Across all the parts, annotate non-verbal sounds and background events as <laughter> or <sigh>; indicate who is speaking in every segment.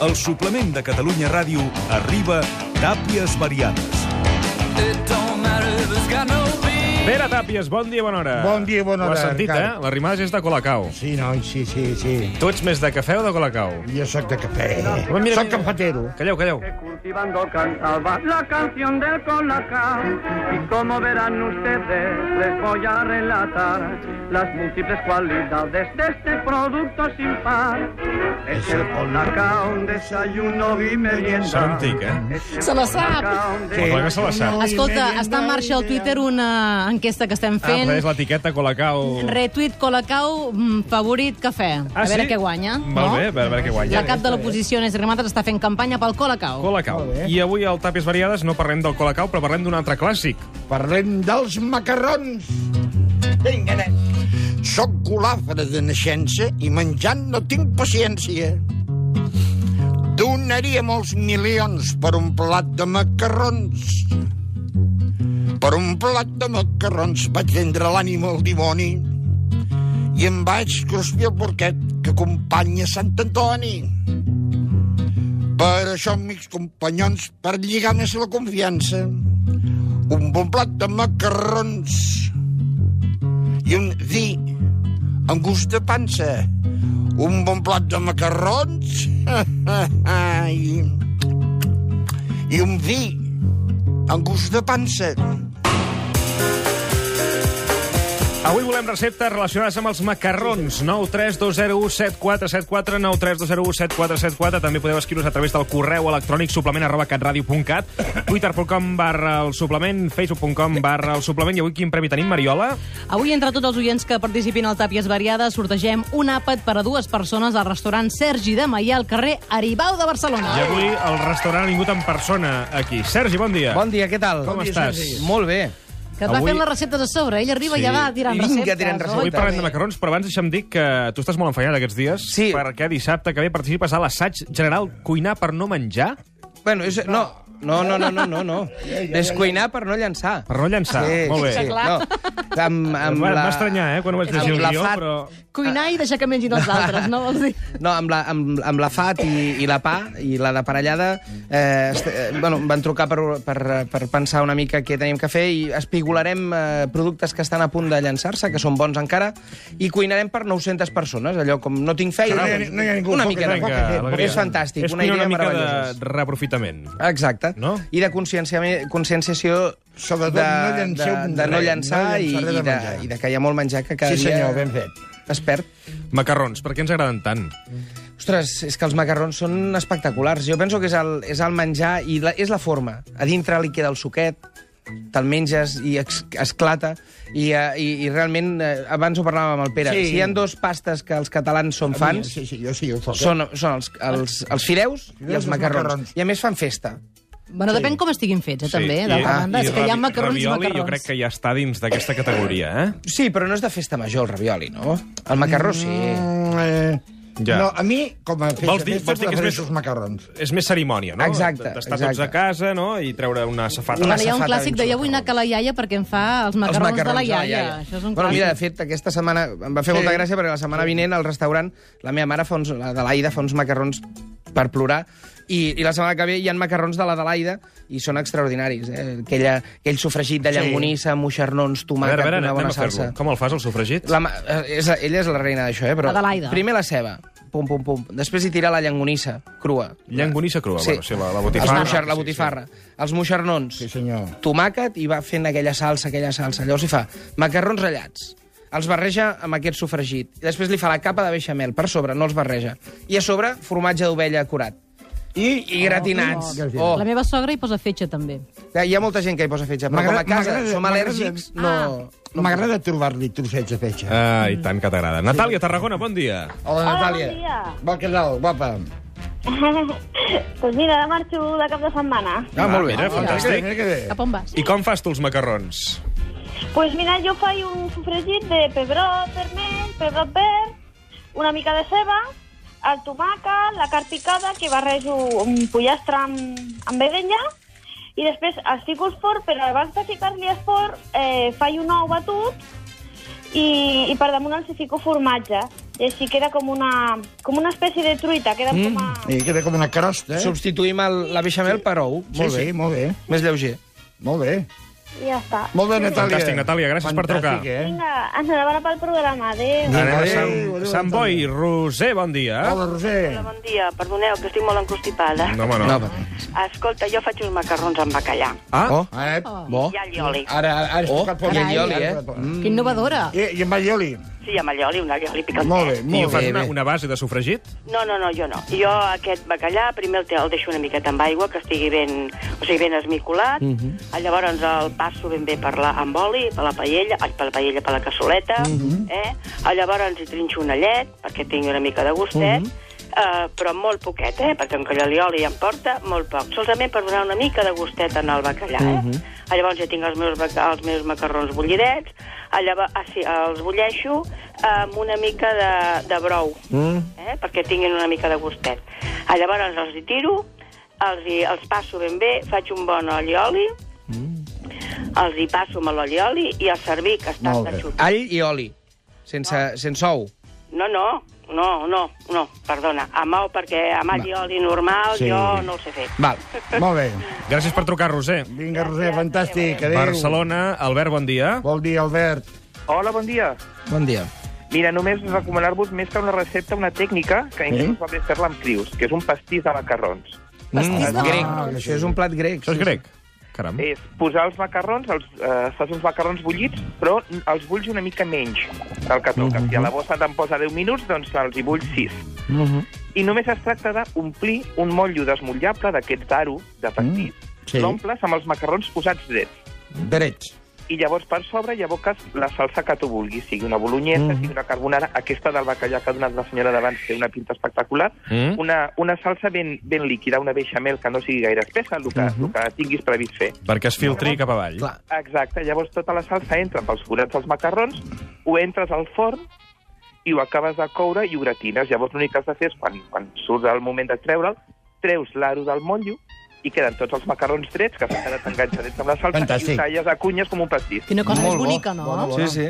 Speaker 1: El suplement de Catalunya Ràdio arriba Tàpies Variades.
Speaker 2: Pere Tàpies, bon dia, bona hora.
Speaker 3: Bon dia, bona
Speaker 2: Ho has
Speaker 3: hora,
Speaker 2: sentit,
Speaker 3: Ricard.
Speaker 2: eh? La rimada és de Colacau.
Speaker 3: Sí, noi, sí, sí, sí.
Speaker 2: Tu ets més de cafè o de Colacau?
Speaker 3: Jo sóc de cafè.
Speaker 2: Home, mira,
Speaker 3: sóc
Speaker 2: mira.
Speaker 3: cafetero.
Speaker 2: Calleu, calleu.
Speaker 4: cultivando cantaba la canción del colacao y como verán ustedes les voy a relatar las múltiples cualidades de este producto sin par es el colacao un desayuno y merienda
Speaker 2: Sona antic, eh?
Speaker 4: Es el
Speaker 5: Se la sap.
Speaker 4: Colacao, un
Speaker 2: Sí. Clar que se la sap.
Speaker 5: Escolta, està en marxa al Twitter una enquesta que estem
Speaker 2: Ah, però és
Speaker 5: fent.
Speaker 2: l'etiqueta Colacau.
Speaker 5: Retweet Colacau, mm, favorit cafè.
Speaker 2: Ah,
Speaker 5: A veure
Speaker 2: sí?
Speaker 5: què guanya.
Speaker 2: Molt bé, a veure- a veure què guanya.
Speaker 5: La cap de l'oposició, Nes Remates, està fent campanya pel Colacau.
Speaker 2: Colacau.
Speaker 3: Molt bé.
Speaker 2: I avui al Tàpies Variades no parlem del Colacau, però parlem d'un altre clàssic.
Speaker 3: Parlem dels macarrons. Vinga, nen. Soc golafre de naixença i menjant no tinc paciència. Donaria molts milions per un plat de macarrons. Per un plat de macarrons vaig vendre l'ànima al dimoni i em vaig cruspir el porquet que acompanya Sant Antoni. Per això, amics companyons, per lligar més la confiança, un bon plat de macarrons i un vi amb gust de pansa. Un bon plat de macarrons <laughs> i, i un vi amb gust de pansa.
Speaker 2: Avui volem receptes relacionades amb els macarrons. 9 3 2 0 1 7 4 7 4 9 3 2 0 1 7 4 7 4 També podeu escriure's a través del correu electrònic suplement arroba catradio.cat twitter.com barra el suplement facebook.com barra el suplement i avui quin premi tenim, Mariola?
Speaker 5: Avui, entre tots els oients que participin al Tàpies Variades, sortegem un àpat per a dues persones al restaurant Sergi de Maià, al carrer Aribau de Barcelona.
Speaker 2: I avui el restaurant ha vingut en persona aquí. Sergi, bon dia.
Speaker 6: Bon dia, què tal?
Speaker 2: Com estàs?
Speaker 6: Molt bé.
Speaker 5: Que et va
Speaker 2: avui-
Speaker 5: fent les receptes a sobre. Ell arriba
Speaker 2: Sí.
Speaker 5: i ja va tirant
Speaker 6: I vinga,
Speaker 5: receptes.
Speaker 6: tirant receptes.
Speaker 2: Avui
Speaker 5: Oi,
Speaker 2: parlem de
Speaker 5: també.
Speaker 2: macarrons, però abans deixa'm dir que tu estàs molt enfeinat aquests dies
Speaker 6: Sí.
Speaker 2: perquè dissabte que ve participes a l'assaig general Cuinar per no menjar,
Speaker 6: Bueno, és... No, no, no, no, no, no.
Speaker 2: <laughs>
Speaker 6: no. Descuinar per no llançar.
Speaker 2: per no llançar. molt bé.
Speaker 5: sí, clar.
Speaker 6: No. <laughs> Amb, amb
Speaker 2: Va,
Speaker 6: la...
Speaker 2: va estranyar, eh, quan ho vaig llegir el
Speaker 6: amb la
Speaker 2: guió,
Speaker 6: fat-
Speaker 2: però...
Speaker 5: Cuinar i deixar que mengin
Speaker 2: <laughs>
Speaker 5: els altres, no vols dir?
Speaker 6: <laughs> No, amb la, amb, amb la FAT i, i la PA i la de Parellada eh, est, eh, bueno, em van trucar per, per, per pensar una mica què teníem que fer i espigolarem eh, productes que estan a punt de llançar-se, que són bons encara, i cuinarem per 900 persones, allò com no tinc feina...
Speaker 3: No hi ha- no hi ha ningú,
Speaker 6: Una
Speaker 3: poca
Speaker 6: mica
Speaker 3: gent,
Speaker 6: de...
Speaker 3: poca
Speaker 2: Vinga,
Speaker 3: gent,
Speaker 2: alegria.
Speaker 6: És fantàstic,
Speaker 2: És
Speaker 6: una idea
Speaker 2: una mica
Speaker 6: meravellosa.
Speaker 2: de reaprofitament.
Speaker 6: Exacte.
Speaker 2: No?
Speaker 6: I de conscienciami- conscienciació
Speaker 3: Sobretot
Speaker 6: de,
Speaker 3: no llanceu
Speaker 6: de, de no
Speaker 3: res,
Speaker 6: llançar,
Speaker 3: no llançar res
Speaker 6: i, i,
Speaker 3: de
Speaker 6: de,
Speaker 3: menjar.
Speaker 6: i de que hi ha molt menjar que cada
Speaker 3: Sí, senyor,
Speaker 6: dia
Speaker 3: ben fet.
Speaker 6: es perd.
Speaker 2: Macarrons, per què ens agraden tant?
Speaker 6: Ostres, és que els macarrons són espectaculars. Jo penso que és el, és el menjar i la, és la forma. A dintre li queda el suquet, te'l menges i ex, esclata. I, eh, i, i realment, eh, abans ho parlàvem amb el Pere,
Speaker 3: Sí.
Speaker 6: si hi han dos pastes que els catalans són fans,
Speaker 3: Sí, sí, jo sí, ho soc.
Speaker 6: són, són els, els, els fideus i els
Speaker 3: eh? els
Speaker 6: macarrons.
Speaker 3: macarrons.
Speaker 6: I a més fan festa.
Speaker 5: Bueno, depèn com estiguin fets, eh, també.
Speaker 2: i-
Speaker 5: D'altra
Speaker 2: i
Speaker 5: banda, és que hi ha
Speaker 2: ravi-
Speaker 5: macarrons i
Speaker 2: ravioli
Speaker 5: macarrons.
Speaker 2: jo crec que ja està dins d'aquesta categoria, eh?
Speaker 6: Sí, però no és de festa major, el ravioli, no? El macarró sí.
Speaker 3: Mm, eh,
Speaker 2: Ja.
Speaker 3: No, a mi, com a
Speaker 2: Vols
Speaker 3: festa,
Speaker 2: dir-
Speaker 3: festa,
Speaker 2: vols dir que és
Speaker 3: prefereixo
Speaker 2: més-
Speaker 3: els macarrons.
Speaker 2: És més cerimònia, no?
Speaker 6: Exacte,
Speaker 2: D'estar
Speaker 6: exacte.
Speaker 2: tots a casa, no?, i treure una safata.
Speaker 6: Una
Speaker 5: Bueno, hi ha un
Speaker 6: safata
Speaker 5: clàssic
Speaker 6: ben
Speaker 5: de jo
Speaker 6: xula,
Speaker 5: vull anar a la iaia perquè em fa els
Speaker 6: Els
Speaker 5: macarrons, de la
Speaker 6: macarrons
Speaker 5: iaia. Això és un
Speaker 6: bueno, mira, de
Speaker 5: clàssic.
Speaker 6: fet, aquesta setmana em va fer molta gràcia perquè la setmana vinent al restaurant la meva mare, fa uns, la Adelaida, fa uns macarrons per plorar i, i la setmana que ve hi ha macarrons de l'Adelaida i són extraordinaris. Eh? Aquella, aquell sofregit de llangonissa, amb moixernons,
Speaker 2: A
Speaker 6: tomàquet,
Speaker 2: veure, a veure,
Speaker 6: una
Speaker 2: anem
Speaker 6: bona
Speaker 2: a fer-lo.
Speaker 6: salsa.
Speaker 2: Com el fas, el sofregit?
Speaker 6: La, ma- eh, és, ella és la reina d'això, eh? Però
Speaker 5: Adelaida.
Speaker 6: primer la ceba, pum, pum, pum. Després hi tira la llangonissa, crua.
Speaker 2: Llangonissa crua, bueno, sí, la- la
Speaker 6: Els
Speaker 2: botifarra.
Speaker 6: moixer,
Speaker 2: Sí,
Speaker 6: la
Speaker 2: sí.
Speaker 6: botifarra. Els moixernons.
Speaker 3: Sí, senyor.
Speaker 6: Tomàquet i va fent aquella salsa, aquella salsa. Llavors hi fa macarrons ratllats. Els barreja amb aquest sofregit. I després li fa la capa de beixamel per sobre, no els barreja. I a sobre, formatge d'ovella curat. I, i gratinats. Oh,
Speaker 5: La meva sogra hi posa fetge, també.
Speaker 6: Hi ha molta gent que hi posa fetge, però com
Speaker 3: M'agrada-
Speaker 6: a casa
Speaker 3: m'agrada-
Speaker 6: som
Speaker 3: m'agrada- Ah.
Speaker 6: al·lèrgics, no... no
Speaker 3: M'agrada trobar-li trossets de fetge.
Speaker 2: Ah, i tant que t'agrada. Natàlia, Tarragona, bon dia.
Speaker 3: Hola, Natàlia.
Speaker 7: bon <laughs> dia.
Speaker 3: Bon que tal, guapa.
Speaker 7: doncs mira, ara marxo de cap de setmana.
Speaker 6: Ah, molt bé.
Speaker 2: Mira, fantàstic.
Speaker 3: Mira que bé.
Speaker 5: Cap on vas?
Speaker 2: I com fas tu els macarrons?
Speaker 7: pues mira, jo faig un sofregit de pebrot vermell, pebrot verd, una mica de ceba, el tomàquet, la carn picada, que barrejo un pollastre amb, amb vedella, i després els fico al forn, però abans de ficar-li al forn eh, faig un ou batut i, i per damunt els hi fico formatge. i així queda com una, com una espècie de truita, queda mm. com a...
Speaker 3: I queda com una carosta, eh?
Speaker 6: Substituïm el, la beixamel per ou.
Speaker 3: Sí,
Speaker 6: Molt
Speaker 3: sí,
Speaker 6: bé.
Speaker 3: molt bé.
Speaker 6: Més lleuger.
Speaker 3: Molt bé.
Speaker 7: I ja està.
Speaker 3: Molt bé, Natàlia.
Speaker 2: Fantàstic, Natàlia, gràcies per trucar.
Speaker 3: Fantàstic, eh?
Speaker 7: Vinga, enhorabona pel programa, adéu.
Speaker 3: Adéu,
Speaker 2: Anem a
Speaker 3: adéu,
Speaker 2: Sant,
Speaker 3: adéu,
Speaker 2: Sant Boi. Roser, bon dia.
Speaker 3: Hola, Roser.
Speaker 8: Bon dia, perdoneu, que estic molt encostipada.
Speaker 2: No, home, no.
Speaker 6: No, va bé.
Speaker 8: Escolta, jo faig uns macarrons amb bacallà.
Speaker 2: Ah,
Speaker 6: Oh,
Speaker 3: Eh,
Speaker 6: bo.
Speaker 8: I allioli.
Speaker 3: Ara, ara has
Speaker 6: Oh,
Speaker 3: tocat
Speaker 6: i allioli, eh?
Speaker 5: Que innovadora.
Speaker 3: I, I amb allioli.
Speaker 8: Sí, amb allioli, un allioli picantet.
Speaker 3: Molt bé,
Speaker 2: I ho
Speaker 3: molt
Speaker 2: fas
Speaker 3: bé.
Speaker 2: una,
Speaker 6: bé.
Speaker 2: una base de sofregit?
Speaker 8: No, no, no, jo no. Jo aquest bacallà primer el, te- el deixo una miqueta amb aigua, que estigui ben, o sigui, ben esmicolat. Mm -hmm. Llavors el passo ben bé per la, amb oli, per la paella, ai, per la paella, per la cassoleta. Mm
Speaker 3: Mm-hmm.
Speaker 8: -hmm. eh? Llavors hi trinxo una llet, perquè tingui una mica de
Speaker 3: Mm-hmm.
Speaker 8: gustet. Mm -hmm. Uh, però molt poquet, eh? perquè amb l'oli em porta molt poc, solament per donar una mica de gustet en el bacallà. Eh?
Speaker 3: Mhm.
Speaker 8: Mm -hmm. Llavors ja tinc els meus, baca- els meus macarrons bullidets, llavors, ah, sí, els bulleixo amb una mica de, de brou, mm. eh? perquè tinguin una mica de gustet. Ah, Llavors els hi tiro, els, hi, els passo ben bé, faig un bon oli-oli, mm. els hi passo amb l'oli-oli i el servir, que està
Speaker 3: Molt bé.
Speaker 8: xut.
Speaker 6: All i oli. Sense, sense ou.
Speaker 8: No, no, no, no, no, perdona, amb ou, perquè amb all i oli normal
Speaker 3: Sí.
Speaker 8: sí. jo no ho sé fer.
Speaker 6: Val.
Speaker 3: Molt bé.
Speaker 2: Gràcies per trucar, Roser.
Speaker 3: Vinga, Roser, fantàstic. Adéu.
Speaker 2: Barcelona, Albert, bon dia.
Speaker 3: Vol dir, Albert.
Speaker 9: Hola, bon dia.
Speaker 6: Bon dia.
Speaker 9: Mira, només recomanar-vos més que una recepta, una tècnica que a mi em va bé fer-la amb crius, que és un pastís de macarrons.
Speaker 5: Pastís de
Speaker 6: grec.
Speaker 5: macarrons.
Speaker 6: Ah, Això és un plat grec.
Speaker 2: Mm, Això és grec? Caram.
Speaker 9: És posar els macarrons, els, eh, fas uns macarrons bullits, però els bulls una mica menys del que toca. Si a la bossa te'n posa 10 minuts, doncs els hi bulls 6.
Speaker 6: Mhm.
Speaker 9: I només es tracta d'omplir un motllo desmullable d'aquest daro de pastís,
Speaker 3: sí.
Speaker 9: l'omples amb els macarrons posats drets.
Speaker 3: Drets.
Speaker 9: i llavors per sobre hi aboques la salsa que tu vulguis, sigui una bolognesa, mm -hmm. sigui una carbonara, aquesta del bacallà que ha donat la senyora d'abans té una pinta espectacular, mm
Speaker 2: Mm.
Speaker 9: -hmm. una, una salsa ben, ben líquida, una beixamel que no sigui gaire espessa, el que, mm -hmm. el que tinguis previst fer.
Speaker 2: Perquè es filtri cap avall.
Speaker 6: Clar.
Speaker 9: Exacte, llavors tota la salsa entra pels forats dels macarrons, ho entres al forn i ho acabes de coure i ho gratines. Llavors l'únic que has de fer és, quan, quan surt el moment de treure'l, treus l'aro del motllo i queden tots els macarrons drets que s'han quedat enganxadets amb la salsa
Speaker 3: Fantàstic.
Speaker 9: i ho talles a cunyes com un pastís.
Speaker 5: Quina cosa més
Speaker 6: bo.
Speaker 5: bonica, no?
Speaker 3: Bona, bona. Mm.
Speaker 6: Sí,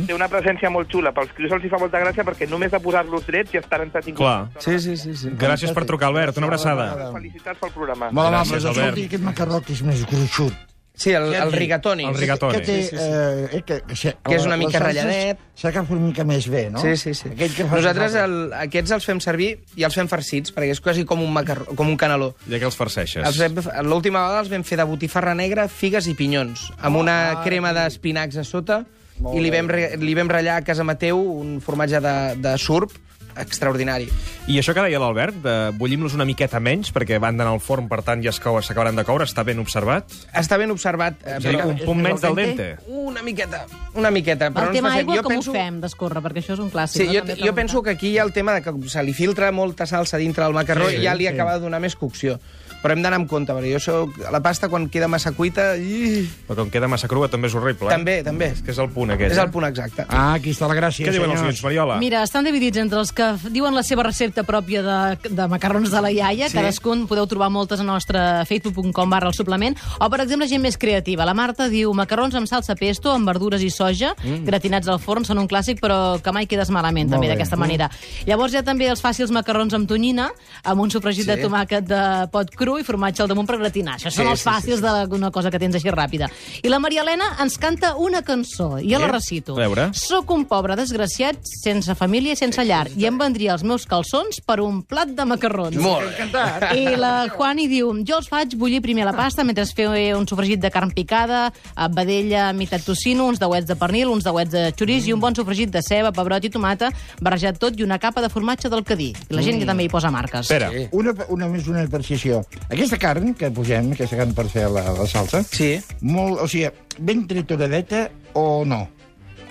Speaker 6: sí.
Speaker 9: té una presència molt xula. Pels crios els hi fa molta gràcia perquè només de posar-los drets ja estaran entretinguts.
Speaker 2: Clar.
Speaker 6: Sí, sí, sí. sí.
Speaker 2: Gràcies per trucar, Albert. Una abraçada.
Speaker 9: Felicitats pel programa.
Speaker 3: Molt amable.
Speaker 2: Gràcies,
Speaker 3: Gràcies,
Speaker 2: Albert.
Speaker 3: Escolti, aquest macarró que és més gruixut.
Speaker 6: Sí, el,
Speaker 3: Què
Speaker 6: el
Speaker 3: dic?
Speaker 6: rigatoni.
Speaker 2: El rigatoni.
Speaker 3: Que, té, eh, eh, que, que, se-
Speaker 6: Que és una
Speaker 3: les
Speaker 6: mica
Speaker 3: salses
Speaker 6: ratlladet.
Speaker 3: S'agafa una mica més bé, no?
Speaker 6: Sí, sí, sí.
Speaker 3: Aquell que fa-
Speaker 6: Nosaltres el, aquests els fem servir i els fem farcits, perquè és quasi com un, macarró, com un caneló.
Speaker 2: Ja que els farceixes.
Speaker 6: Els vam- L'última vegada els vam fer de botifarra negra, figues i pinyons, amb una crema d'espinacs a sota, i li vam, re- li vam ratllar a casa Mateu un formatge de, de surp extraordinari.
Speaker 2: I això que deia l'Albert, de bullim-los una miqueta menys, perquè van d'anar al forn, per tant, ja es cou- s'acabaran de coure, està ben observat.
Speaker 6: Està ben observat, eh,
Speaker 2: És a dir,
Speaker 6: però
Speaker 2: un punt menys del dente.
Speaker 6: una miqueta, una miqueta. Però
Speaker 5: El tema
Speaker 6: no ens passem.
Speaker 5: aigua,
Speaker 6: Jo
Speaker 5: com
Speaker 6: penso-
Speaker 5: ho fem d'escórrer? Perquè això és un clàssic.
Speaker 6: Sí,
Speaker 5: no?
Speaker 6: jo,
Speaker 5: També
Speaker 6: jo penso que aquí hi ha el tema de que se li filtra molta salsa dintre del macarró sí, i ja li sí. acaba de donar més cocció. Però hem d'anar amb compte, perquè jo soc... La pasta, quan queda massa cuita... I...
Speaker 2: Però com queda massa crua, també és horrible. eh?
Speaker 6: També, també.
Speaker 2: És que és el punt, aquest.
Speaker 6: És
Speaker 2: eh?
Speaker 6: el punt exacte.
Speaker 3: Ah, aquí està la gràcia,
Speaker 2: Què diuen els
Speaker 3: senyors.
Speaker 2: oients, Mariola?
Speaker 5: Mira, estan dividits entre els que f- diuen la seva recepta pròpia de, de macarrons de la iaia, sí. cadascun podeu trobar moltes a nostre facebook.com barra el suplement, o, per exemple, gent més creativa. La Marta diu macarrons amb salsa pesto, amb verdures i soja, mm. gratinats al forn, són un clàssic, però que mai quedes malament, també, d'aquesta manera. Mm. Llavors hi ha també els fàcils macarrons amb tonyina, amb un sofregit
Speaker 6: Sí.
Speaker 5: sí. de tomàquet de pot cru i formatge al damunt per gratinar. Això
Speaker 6: Sí,
Speaker 5: són els
Speaker 6: sí, sí,
Speaker 5: fàcils d'una cosa que tens així ràpida. I la Maria Elena ens canta una cançó. Jo la
Speaker 2: Eh?
Speaker 5: recito.
Speaker 2: A veure.
Speaker 5: Sóc un pobre desgraciat, sense família i sense llar, i em vendria els meus calçons per un plat de macarrons.
Speaker 6: Molt bé.
Speaker 5: I la Juani diu, jo els faig bullir primer la pasta mentre es feu un sofregit de carn picada, eh, vedella, mitat tocino, uns dauets de pernil, uns dauets de xorís mm. i un bon sofregit de ceba, pebrot i tomata, barrejat tot i una capa de formatge del cadí. I la gent mm. també hi posa marques.
Speaker 2: Espera.
Speaker 3: Una, una més una precisió. Aquesta carn que posem, aquesta carn per fer la, la salsa,
Speaker 6: Sí.
Speaker 3: molt, o sigui, ben trituradeta o no?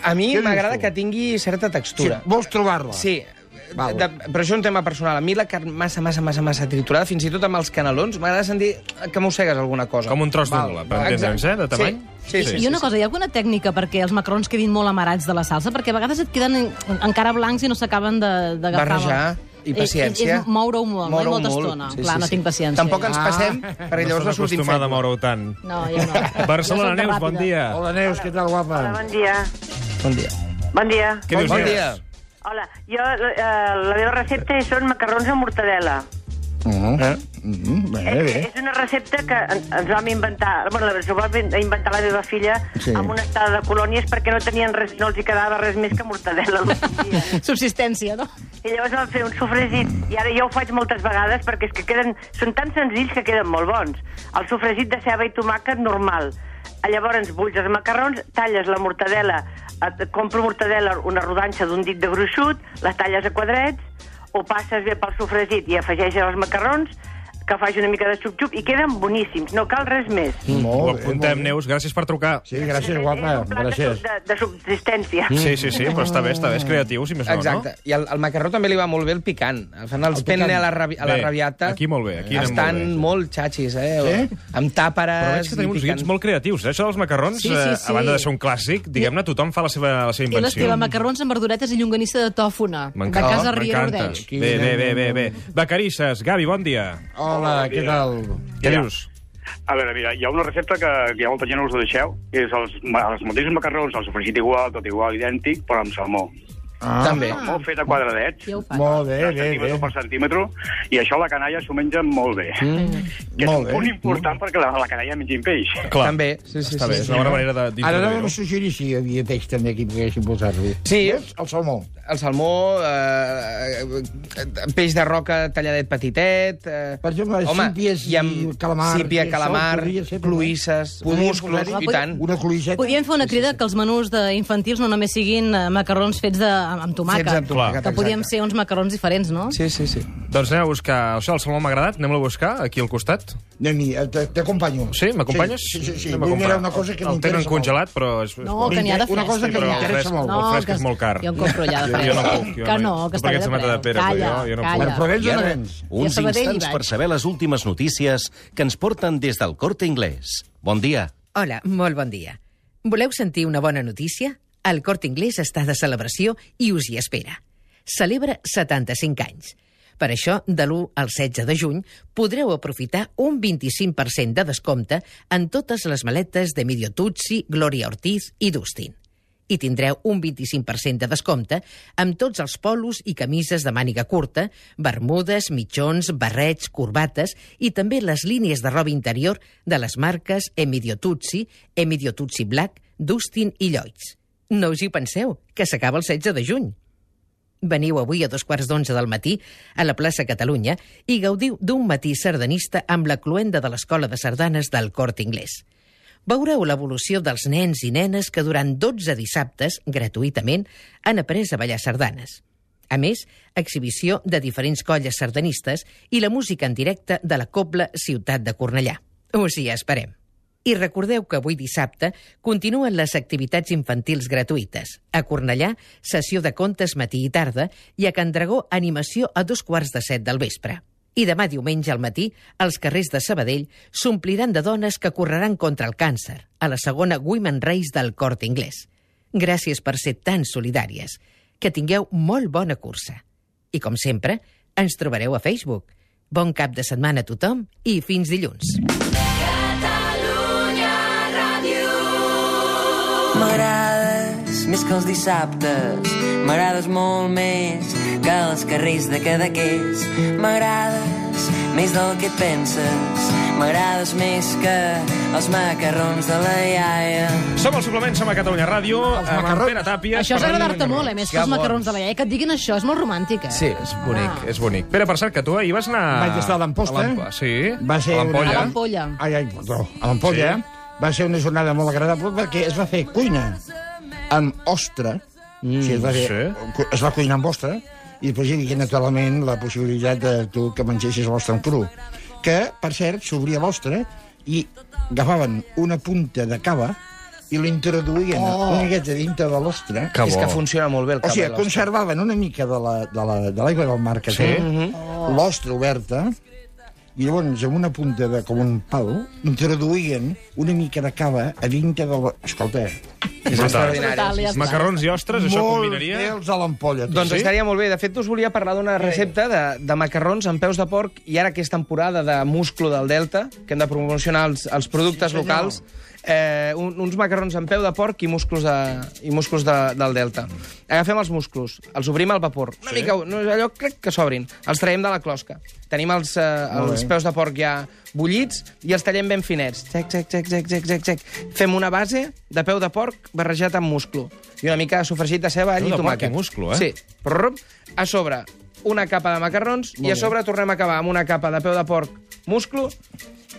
Speaker 6: A mi
Speaker 3: Què dius
Speaker 6: m'agrada
Speaker 3: tu?
Speaker 6: que tingui certa
Speaker 3: O sigui,
Speaker 6: textura.
Speaker 3: vols trobar-la?
Speaker 6: Sí,
Speaker 3: Val.
Speaker 6: de, però això és un tema personal. A mi la carn massa, massa, massa, massa triturada, fins i tot amb els canelons, m'agrada sentir que mossegues alguna cosa.
Speaker 2: Com un tros d'ungla, per entendre'ns, eh, de tamany.
Speaker 6: Sí, sí, sí.
Speaker 5: I una cosa, hi ha alguna tècnica perquè els macarrons quedin molt amarats de la salsa? Perquè a vegades et queden en- encara blancs i no s'acaben de- d'agafar. Eh,
Speaker 6: Barrejar i paciència.
Speaker 5: És, és moure-ho molt, moure
Speaker 6: Moure-ho
Speaker 5: molta
Speaker 6: molt.
Speaker 5: estona. Sí, Clar, sí, no tinc paciència. Ah.
Speaker 6: Tampoc ens passem, perquè
Speaker 2: No
Speaker 6: llavors no
Speaker 2: estàs
Speaker 6: sortim
Speaker 2: acostumada
Speaker 6: feina.
Speaker 2: a moure-ho tant.
Speaker 5: No, jo no.
Speaker 6: <laughs>
Speaker 2: Barcelona,
Speaker 5: Jo soc de
Speaker 2: Neus, bon
Speaker 5: ràpida.
Speaker 2: dia.
Speaker 3: Hola, Neus, què tal, guapa?
Speaker 8: Hola, bon dia.
Speaker 6: Bon dia.
Speaker 8: Bon dia.
Speaker 2: Què dius,
Speaker 6: Bon
Speaker 2: Neus?
Speaker 6: dia.
Speaker 8: Hola, jo, eh, la meva recepta són macarrons amb mortadela.
Speaker 2: Eh?
Speaker 3: Mm, bé,
Speaker 8: És,
Speaker 3: bé.
Speaker 8: és una recepta que en- ens vam inventar, bueno, ens ho va vin- inventar la meva filla
Speaker 3: Sí.
Speaker 8: sí. amb una estada de colònies perquè no tenien res, no els hi quedava res més que mortadela. l'últim dia.
Speaker 5: <laughs> Subsistència, no?
Speaker 8: I llavors vam fer un sofregit, i ara jo ho faig moltes vegades perquè és que queden, són tan senzills que queden molt bons. El sofregit de ceba i tomàquet normal. Ah, Llavors bulls els macarrons, talles la mortadela, et- compro mortadela una rodanxa d'un dit de gruixut, la talles a quadrets, ho passes bé pel sofregit i afegeixes els macarrons, que faci una mica de xup-xup, i queden boníssims, no cal res més.
Speaker 2: Ho
Speaker 3: Mm. Molt bé, molt
Speaker 2: apuntem,
Speaker 3: bé.
Speaker 2: Neus. Gràcies per trucar.
Speaker 3: Sí, gràcies,
Speaker 8: És-
Speaker 3: guapa.
Speaker 8: És un plat
Speaker 3: Gràcies.
Speaker 8: de, de, de subsistència.
Speaker 2: Sí, sí, sí, però està bé, està bé. És creatiu, si més no,
Speaker 6: Exacte. I al, al macarró també li va molt bé el picant. Fan els el penne a la, rabi, a la
Speaker 2: Bé,
Speaker 6: rabiata.
Speaker 2: aquí molt bé, aquí anem
Speaker 6: Estan
Speaker 2: molt bé.
Speaker 6: molt xatxis, eh?
Speaker 3: Sí?
Speaker 6: Amb tàperes...
Speaker 2: no? Però veig que tenim
Speaker 6: i
Speaker 2: uns
Speaker 6: picant.
Speaker 2: guions molt creatius, eh? Això dels macarrons,
Speaker 5: Sí, sí,
Speaker 2: eh,
Speaker 5: sí.
Speaker 2: a banda de ser un clàssic, diguem-ne, tothom fa la seva, la seva
Speaker 5: Té
Speaker 2: invenció.
Speaker 5: l'Esteve Macarrons amb verduretes i llonganissa de tòfona. De
Speaker 2: M'encanta,
Speaker 5: casa Riera
Speaker 2: m'encanta.
Speaker 5: Ordeix.
Speaker 2: Bé, bé, bé, bé, bé. Vacarisses, Gavi, bon dia.
Speaker 3: Hola, què tal?
Speaker 2: Què dius?
Speaker 10: A veure, mira, hi ha una recepta que, que hi ha molta gent no us la deixeu, que és els, ma- els mateixos macarrons, el sofregit igual, tot igual, idèntic, però amb salmó.
Speaker 3: Ah,
Speaker 6: També.
Speaker 5: Ah.
Speaker 10: Salmó fet a quadradets,
Speaker 5: Ja ho faig.
Speaker 3: Molt bé, bé, bé.
Speaker 10: centímetre per centímetre, i això la canalla s'ho menja molt bé. Mm, que és
Speaker 3: molt
Speaker 10: un
Speaker 3: bé.
Speaker 10: punt important perquè la, la canalla mengin peix.
Speaker 2: Clar,
Speaker 6: També. Sí, sí,
Speaker 2: està
Speaker 6: sí,
Speaker 2: bé,
Speaker 6: sí,
Speaker 2: és una bona manera de
Speaker 3: Ara no
Speaker 2: d'introduir-ho.
Speaker 3: vam suggerir si hi havia peix també aquí poguéssim posar-li.
Speaker 6: Sí.
Speaker 3: Veus? El salmó.
Speaker 6: El salmó, eh, eh, peix de roca talladet petitet... Eh,
Speaker 3: Per exemple, sípies i calamar, i
Speaker 6: Sípia,
Speaker 3: això
Speaker 6: calamar,
Speaker 3: podria ser, però-
Speaker 6: cloïsses,
Speaker 3: Podríem
Speaker 6: musclos,
Speaker 3: posar-hi
Speaker 6: i tant.
Speaker 3: Una cloïsseta.
Speaker 5: Podríem fer una crida que els menús de infantils no només siguin eh, macarrons fets de, amb amb tomàquet,
Speaker 6: Fets amb tomàquet,
Speaker 5: que podíem
Speaker 6: exacte.
Speaker 5: ser uns macarrons diferents, no?
Speaker 6: Sí, sí, sí.
Speaker 2: Doncs anem a buscar... Això, el salmó m'ha agradat, anem-lo a buscar, aquí al costat.
Speaker 3: Neni, eh, te- t'acompanyo.
Speaker 2: Sí, m'acompanyes?
Speaker 3: Sí, sí, sí.
Speaker 2: Anem a
Speaker 3: Vull
Speaker 2: comprar.
Speaker 3: mirar una cosa que
Speaker 2: El tenen
Speaker 3: m'interessa molt.
Speaker 2: congelat, però... És, és
Speaker 5: No,
Speaker 2: bo.
Speaker 5: que n'hi ha de
Speaker 3: Una
Speaker 5: fresc,
Speaker 3: cosa que
Speaker 5: però el
Speaker 3: m'interessa
Speaker 2: fresc-
Speaker 3: molt.
Speaker 2: el fresc és molt car.
Speaker 5: Jo en compro allà de
Speaker 2: Jo,
Speaker 5: fresc.
Speaker 2: jo no puc. Jo
Speaker 5: que
Speaker 2: no,
Speaker 5: no, que
Speaker 2: tu
Speaker 5: està
Speaker 2: perquè
Speaker 5: allà
Speaker 2: ets una mata de pera,
Speaker 5: Calla,
Speaker 2: jo- jo no puc.
Speaker 5: calla.
Speaker 3: Però ells
Speaker 1: I
Speaker 3: no
Speaker 1: ara,
Speaker 3: vens.
Speaker 5: I a
Speaker 1: uns
Speaker 5: Sabadell hi
Speaker 1: instants per
Speaker 5: vaig.
Speaker 1: saber les últimes notícies que ens porten des del Corte Inglés. Bon dia.
Speaker 11: Hola, molt bon dia. Voleu sentir una bona notícia? El Corte Inglés està de celebració i us hi espera. Celebra 75 anys. Per això, de l'1 al 16 de juny, podreu aprofitar un 25% de descompte en totes les maletes de Midio Tutsi, Gloria Ortiz i Dustin. I tindreu un 25% de descompte amb tots els polos i camises de màniga curta, bermudes, mitjons, barrets, corbates i també les línies de roba interior de les marques Emidio Tutsi, Emidio Tutsi Black, Dustin i Lloyds. No us hi penseu, que s'acaba el 16 de juny. Veniu avui a dos quarts d'onze del matí a la plaça Catalunya i gaudiu d'un matí sardanista amb la cluenda de l'Escola de Sardanes del Cort Inglés. Veureu l'evolució dels nens i nenes que durant 12 dissabtes, gratuïtament, han après a ballar sardanes. A més, exhibició de diferents colles sardanistes i la música en directe de la Cobla Ciutat de Cornellà. Us hi esperem. I recordeu que avui dissabte continuen les activitats infantils gratuïtes. A Cornellà, sessió de contes matí i tarda, i a Can Dragó, animació a dos quarts de set del vespre. I demà diumenge al matí, els carrers de Sabadell s'ompliran de dones que correran contra el càncer, a la segona Women Race del Cort Inglés. Gràcies per ser tan solidàries. Que tingueu molt bona cursa. I com sempre, ens trobareu a Facebook. Bon cap de setmana a tothom i fins dilluns.
Speaker 12: M'agrades més que els dissabtes, m'agrades molt més que els carrers de Cadaqués. M'agrades més del que et penses, m'agrades més que els macarrons de la iaia.
Speaker 2: Som al suplement, som a Catalunya Ràdio, amb en
Speaker 3: macarrons.
Speaker 2: Pere Tàpia.
Speaker 5: Això és agradar-te molt, eh? Més que els
Speaker 6: Que bons.
Speaker 5: macarrons de la iaia, que et diguin això, és molt romàntic, eh?
Speaker 2: Sí, és bonic, és bonic. Pere, per cert, que tu ahir vas anar...
Speaker 3: Vaig estar a l'Amposta.
Speaker 2: l'Ampo- Sí,
Speaker 3: Va ser
Speaker 2: a
Speaker 5: A
Speaker 2: l'Ampolla.
Speaker 5: l'ampolla.
Speaker 3: eh? Ai, ai, perdó. A l'Ampolla eh?
Speaker 2: Sí.
Speaker 3: va ser una jornada molt agradable perquè es va fer cuina amb ostra. Mm, sí, es, va fer,
Speaker 2: sí.
Speaker 3: cu- es va cuinar amb ostra i després hi havia naturalment la possibilitat de tu que mengessis l'ostra en cru. Que, per cert, s'obria l'ostra i agafaven una punta de cava i l'introduïen oh. una miqueta dintre de l'ostra.
Speaker 2: Que
Speaker 6: és
Speaker 2: bo.
Speaker 6: que funciona molt bé el
Speaker 3: O sigui,
Speaker 6: cabello.
Speaker 3: conservaven una mica de l'aigua de la, de l'aigua del mar que
Speaker 2: Sí. Mhm.
Speaker 3: té, l'ostra oberta, i llavors amb una punta de, com un pal introduïen una mica de cava a dintre de la... Escolta, eh,
Speaker 6: És
Speaker 5: Brutal,
Speaker 6: extraordinari.
Speaker 5: ja està.
Speaker 2: Macarrons i ostres, això
Speaker 3: molt
Speaker 2: combinaria...
Speaker 3: pèls a l'ampolla.
Speaker 6: Doncs
Speaker 2: Sí?
Speaker 6: estaria molt bé. De fet, us volia parlar d'una recepta de, de macarrons amb peus de porc i ara que és temporada de musclo del Delta, que hem de promocionar els, els productes locals, eh, un, uns macarrons en peu de porc i musclos, de, i musclos de, del delta. Agafem els musclos, els obrim al vapor. Una sí. mica, no, allò crec que s'obrin. Els traiem de la closca. Tenim els, eh,
Speaker 13: Molt
Speaker 6: els
Speaker 13: bé.
Speaker 6: peus de porc ja bullits i els tallem ben finets. Xec, xec, xec, xec, xec, xec, xec. Fem una base de peu de porc barrejat amb musclo. I una mica sofregit de ceba, all i
Speaker 2: Peu de porc
Speaker 6: tomàquet.
Speaker 2: i musclo, eh?
Speaker 6: Sí. Prrrup. A sobre, una capa de macarrons
Speaker 2: Molt
Speaker 6: i a
Speaker 2: bé.
Speaker 6: sobre tornem a acabar amb una capa de peu de porc musclo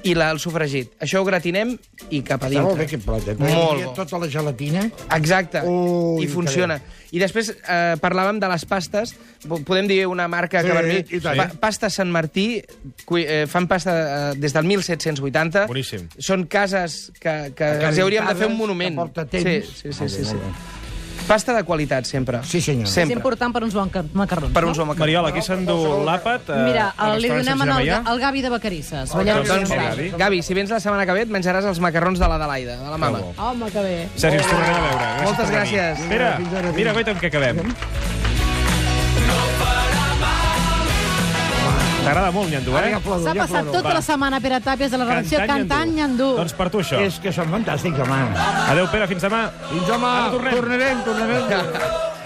Speaker 6: i la, el sofregit. Això ho gratinem i cap a
Speaker 13: Està
Speaker 6: dintre.
Speaker 13: molt bé aquest plat, eh?
Speaker 6: Molt bo.
Speaker 13: Tota la gelatina.
Speaker 6: Exacte,
Speaker 13: Ui,
Speaker 6: i funciona. I després eh, parlàvem de les pastes. P- Podem dir una marca
Speaker 13: Sí,
Speaker 6: que per mi...
Speaker 13: i tant.
Speaker 6: Pa- Pasta Sant Martí, cui- eh, fan pasta eh, des del 1780.
Speaker 2: Boníssim.
Speaker 6: Són cases que, que els hi hauríem de fer un monument.
Speaker 13: Que porta temps.
Speaker 6: Sí, sí, sí.
Speaker 13: Molt bé,
Speaker 6: sí, sí.
Speaker 13: molt
Speaker 6: Pasta de qualitat, sempre.
Speaker 13: Sí, senyor.
Speaker 5: És
Speaker 6: Sempre.
Speaker 5: important per uns bons macarrons.
Speaker 6: Per uns homes que...
Speaker 2: Mariola, qui s'endú l'àpat? Eh,
Speaker 5: Mira,
Speaker 2: al
Speaker 5: el, li
Speaker 2: restaurant
Speaker 5: donem
Speaker 2: Sant
Speaker 5: al,
Speaker 2: Gemeià?
Speaker 5: al Gavi de Vacarisses.
Speaker 13: Oh,
Speaker 6: Doncs,
Speaker 5: Vallès
Speaker 6: doncs,
Speaker 5: Oriental.
Speaker 6: Gavi. Gavi, si vens la setmana que ve et menjaràs els macarrons de l'Adelaida, de la mama.
Speaker 2: Que bo.
Speaker 5: Home, que bé.
Speaker 2: Sergi, ens tornarem a veure. Gràcies
Speaker 6: Moltes
Speaker 2: per venir.
Speaker 6: gràcies. Fins
Speaker 2: Mira,
Speaker 6: ara,
Speaker 2: mira, guaita amb què acabem. T'agrada molt, Nyandú, eh?
Speaker 5: S'ha passat tota la setmana Pere Tàpies de la redacció cantant Nyandú.
Speaker 2: Doncs per tu, això.
Speaker 13: És que són fantàstics, home.
Speaker 2: Adéu, Pere, fins demà.
Speaker 13: Fins demà.
Speaker 2: Ara tornem.
Speaker 13: Tornarem, tornarem.